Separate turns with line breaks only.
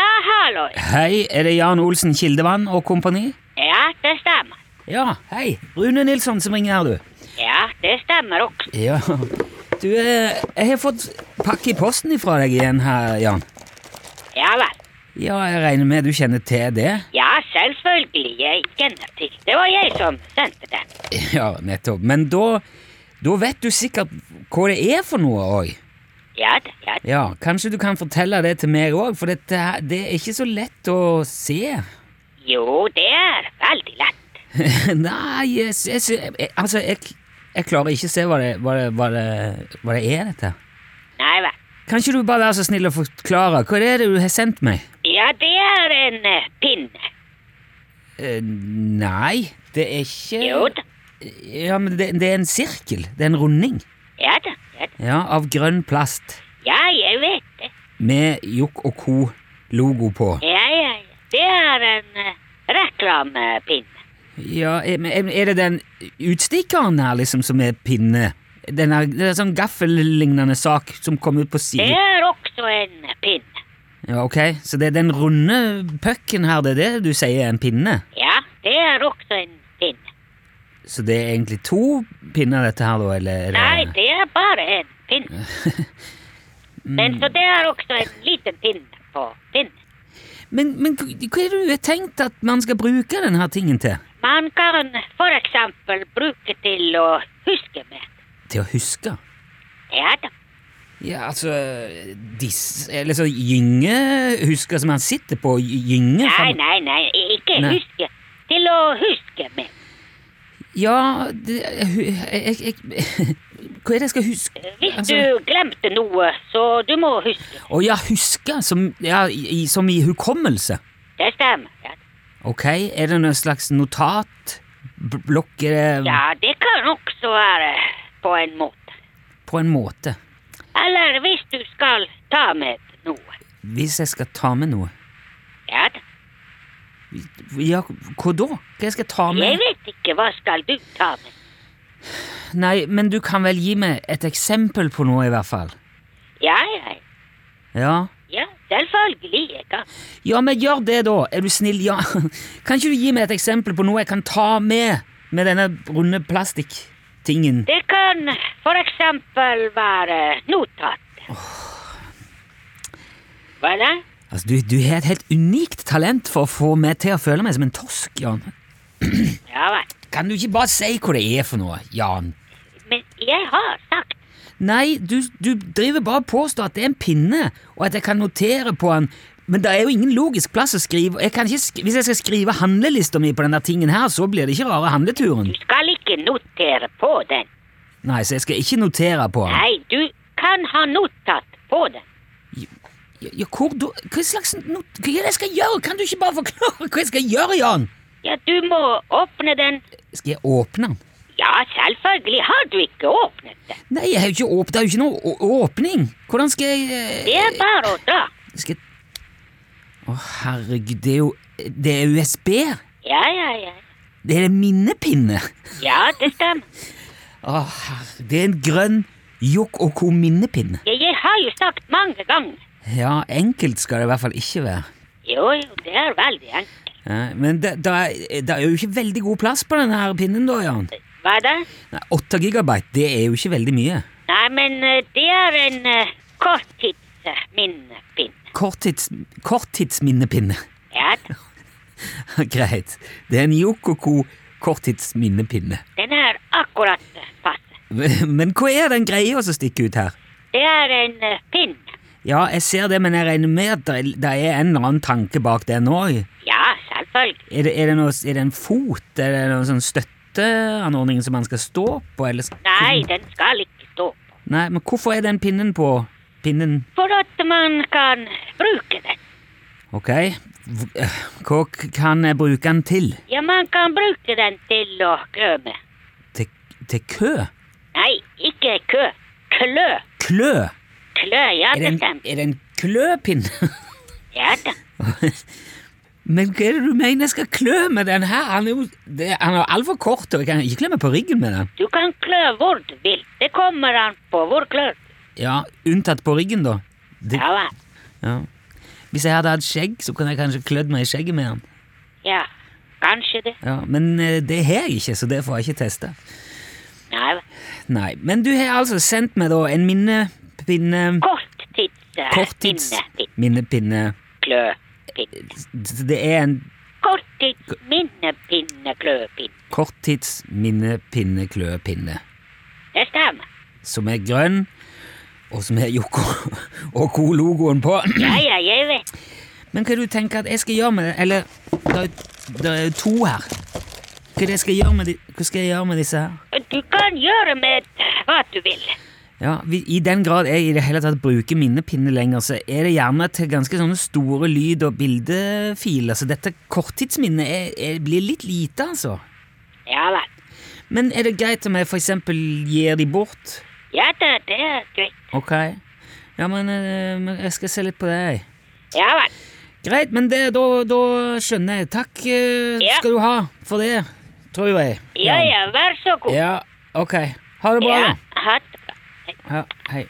Hallo.
Hei, er det Jan Olsen Kildevann og kompani?
Ja, det stemmer.
Ja, hei. Rune Nilsson som ringer her, du.
Ja, det stemmer også.
Ja. Du, eh, jeg har fått pakke i posten ifra deg igjen her, Jan.
Ja vel.
Ja, jeg regner med du kjenner til det?
Ja, selvfølgelig. Jeg kjenner til det. var jeg som sendte den.
Ja, nettopp. Men da, da vet du sikkert hva det er for noe òg.
Ja da, ja da.
Ja, kanskje du kan fortelle det til meg òg, for dette, her- det er ikke så lett å se.
Jo, det er veldig lett.
Nei, jeg, sy- jeg, sy- jeg, altså, jeg, jeg klarer ikke å se hva det, hva det, hva det, hva det er, dette.
Nei vel.
Kan ikke du bare være så snill å forklare? Hva er det du har sendt meg?
Ja, det er en eh, pinne.
Eh, nei, det er ikke
Jo da.
Ja, men det, det er en sirkel. Det er en runding.
Ja da, ja da.
Ja, Av grønn plast.
Ja, jeg vet det.
Med Jokk og Co-logo på.
Ja, ja, ja. Det er en eh, reklamepinne.
Ja, eh, men Er er det den utstikkeren her liksom som er pinne? Den er, det er sånn gaffellignende sak som kom ut på
Det
siden?
er også en pinne.
Ja, ok. Så det er den runde pucken her, det er det du sier er en pinne?
Ja, det er også en pinne.
Så det er egentlig to pinner, dette her, da? Eller er det
Nei, det er bare en pinne. Men så det er også en liten pinne på pinnen.
Men, men hva hva er det du har tenkt at man skal bruke denne tingen til?
Man kan for eksempel bruke til å huske med.
Til å huske?
Ja da.
Ja, altså disse, Eller så gyngehusker som han sitter på. gy- Gynge?
Nei,
fram-
nei, nei, ikke
Nei.
huske. Til å huske med.
Ja det, jeg, jeg, jeg, Hva er det jeg skal huske?
Hvis
Altså-
du glemte noe, så du må huske.
Å ja, huske? Som, ja, i, i- som i hukommelse?
Det stemmer. Ja,
Mm. Ok, er det noe slags notat? B- Blokk er det
ja det kan også være på en måte.
på en måte.
Eller hvis du skal ta med noe.
Hvis jeg skal ta med noe
Ja da.
Ja, hva da? Hva skal jeg ta med?
Jeg vet ikke hva skal du ta med.
Nei, men du kan vel gi meg et eksempel på noe, i hvert fall?
Ja, ja, ja.
Ja.
Ja, selvfølgelig. Jeg kan.
Ja, men gjør det, da. Er du snill? Ja. Kan ikke du gi meg et eksempel på noe jeg kan ta med med denne runde plastikktingen?
Det kan for eksempel være notat. Hva da?
Altså, du, du har et helt unikt talent for å få meg til å føle meg som en tosk, Jan.
Ja vel.
Kan du ikke bare si hva det er for noe, Jan?
Men jeg har sagt
Nei, du, du driver bare og påstår at det er en pinne, og at jeg kan notere på den, men det er jo ingen logisk plass å skrive jeg kan ikke sk Hvis jeg skal skrive handlelista mi på denne tingen her, så blir det ikke rare handleturen.
du skal ikke notere på den.
Nei, så jeg skal ikke notere på den.
Nei, du kan ha notat på den.
Ja, ja, hvor da? Hva slags not... Hva er det jeg skal gjøre? Kan du ikke bare forklare hva jeg skal gjøre, Jan?
Ja, du må åpne den.
Skal jeg åpne den?
Ja, selvfølgelig har du ikke åpnet den.
Nei, jeg har jo ikke åp... det er jo ikke noe å- åpning. Hvordan skal jeg
Det er bare å dra.
eh, Skal jeg Å, herregud, det er jo Det er USB.
Ja, ja, ja.
Det er en minnepinne.
Ja, det stemmer.
Å, herre... Det er en grønn Jokk og co-minnepinne.
Jeg, jeg har jo sagt mange ganger.
Ja, enkelt skal det i hvert fall ikke være.
Jo, jo, det er veldig enkelt.
Ja, men det, det, er, det er jo ikke veldig god plass på denne her pinnen, da, Jan.
Hva da?
Nei, 8 gigabyte, det er jo ikke veldig mye.
Nei, men eh, det er en uh, eh, korttidsminnepinne.
Korttids, korttidsminnepinne.
Ja, da.
Greit. Det er en Yokoko korttidsminnepinne.
den er akkurat eh, passe.
Men hva er den greia som stikker ut her?
Det er en eh, pinne.
Ja, jeg ser det, men jeg regner med at det- det er en eller annen tanke bak den òg.
Ja, selvfølgelig.
Er, det- er, det noe- er det en fot? Er det noen sånn støtteanordning som man skal stå på? Eller sk-
Nei, den skal ikke stå på.
Nei, men hvorfor er den pinnen på pinnen?
For at man kan bruke den.
Ok, V- eh, hva k- kan jeg bruke den til?
Ja, man kan bruke den til å klø med.
Til, til kø?
Nei, ikke kø. Klø.
Klø?
Klø, ja,
Er det
det
en,
stemmer.
er det en kløpinne?
Ja, da.
Men hva er det du mener jeg skal klø med den her? Han er jo det, han er altfor kort, og jeg kan ikke klø meg på ryggen med den.
Du kan klø hvor du vil. Det kommer an på hvor klør du.
Ja, unntatt på ryggen, da. Det,
Ja, vel.
ja. Hvis jeg hadde hatt skjegg, så kunne jeg kanskje klødd meg i skjegget med den.
Ja, kanskje det.
Ja, men eh, det har jeg ikke, så det får jeg ikke teste.
Nei,
Nei, Men du har altså sendt meg da en minnepinne...
korttids... eh,
Korttids...
minne-
Minnepinne.
Kløpinne.
Det er en
Korttids minnepinnekløpinne.
korttids minnepinnekløpinne.
Det stemmer.
som er grønn, og som har Joko og Co-logoen på.
Ja, ja, jeg vet.
Men hva er det du tenker at jeg skal gjøre med det? Eller, det er- det er to her. Hva er det jeg skal gjøre med, de, hva skal jeg gjøre med disse her?
Du kan gjøre med hva du vil.
Ja, vi, I den grad jeg i det hele tatt bruker minnepinne lenger, så er det gjerne til ganske sånne store lyd- og bildefiler, så dette korttidsminnet er, er, blir litt lite, altså.
Ja vel.
Men er det greit om jeg for eksempel gir de bort?
Ja da, det er greit.
Ok. Ja, men eh, men jeg skal se litt på det, jeg.
Ja vel.
Greit, men det, da, da skjønner jeg. Takk eh,
Ja.
skal du ha for det, tror jeg.
Ja ja, vær så god.
Ja, ok. Ha det bra,
Ja,
da.
ha det bra.
Ja, hei.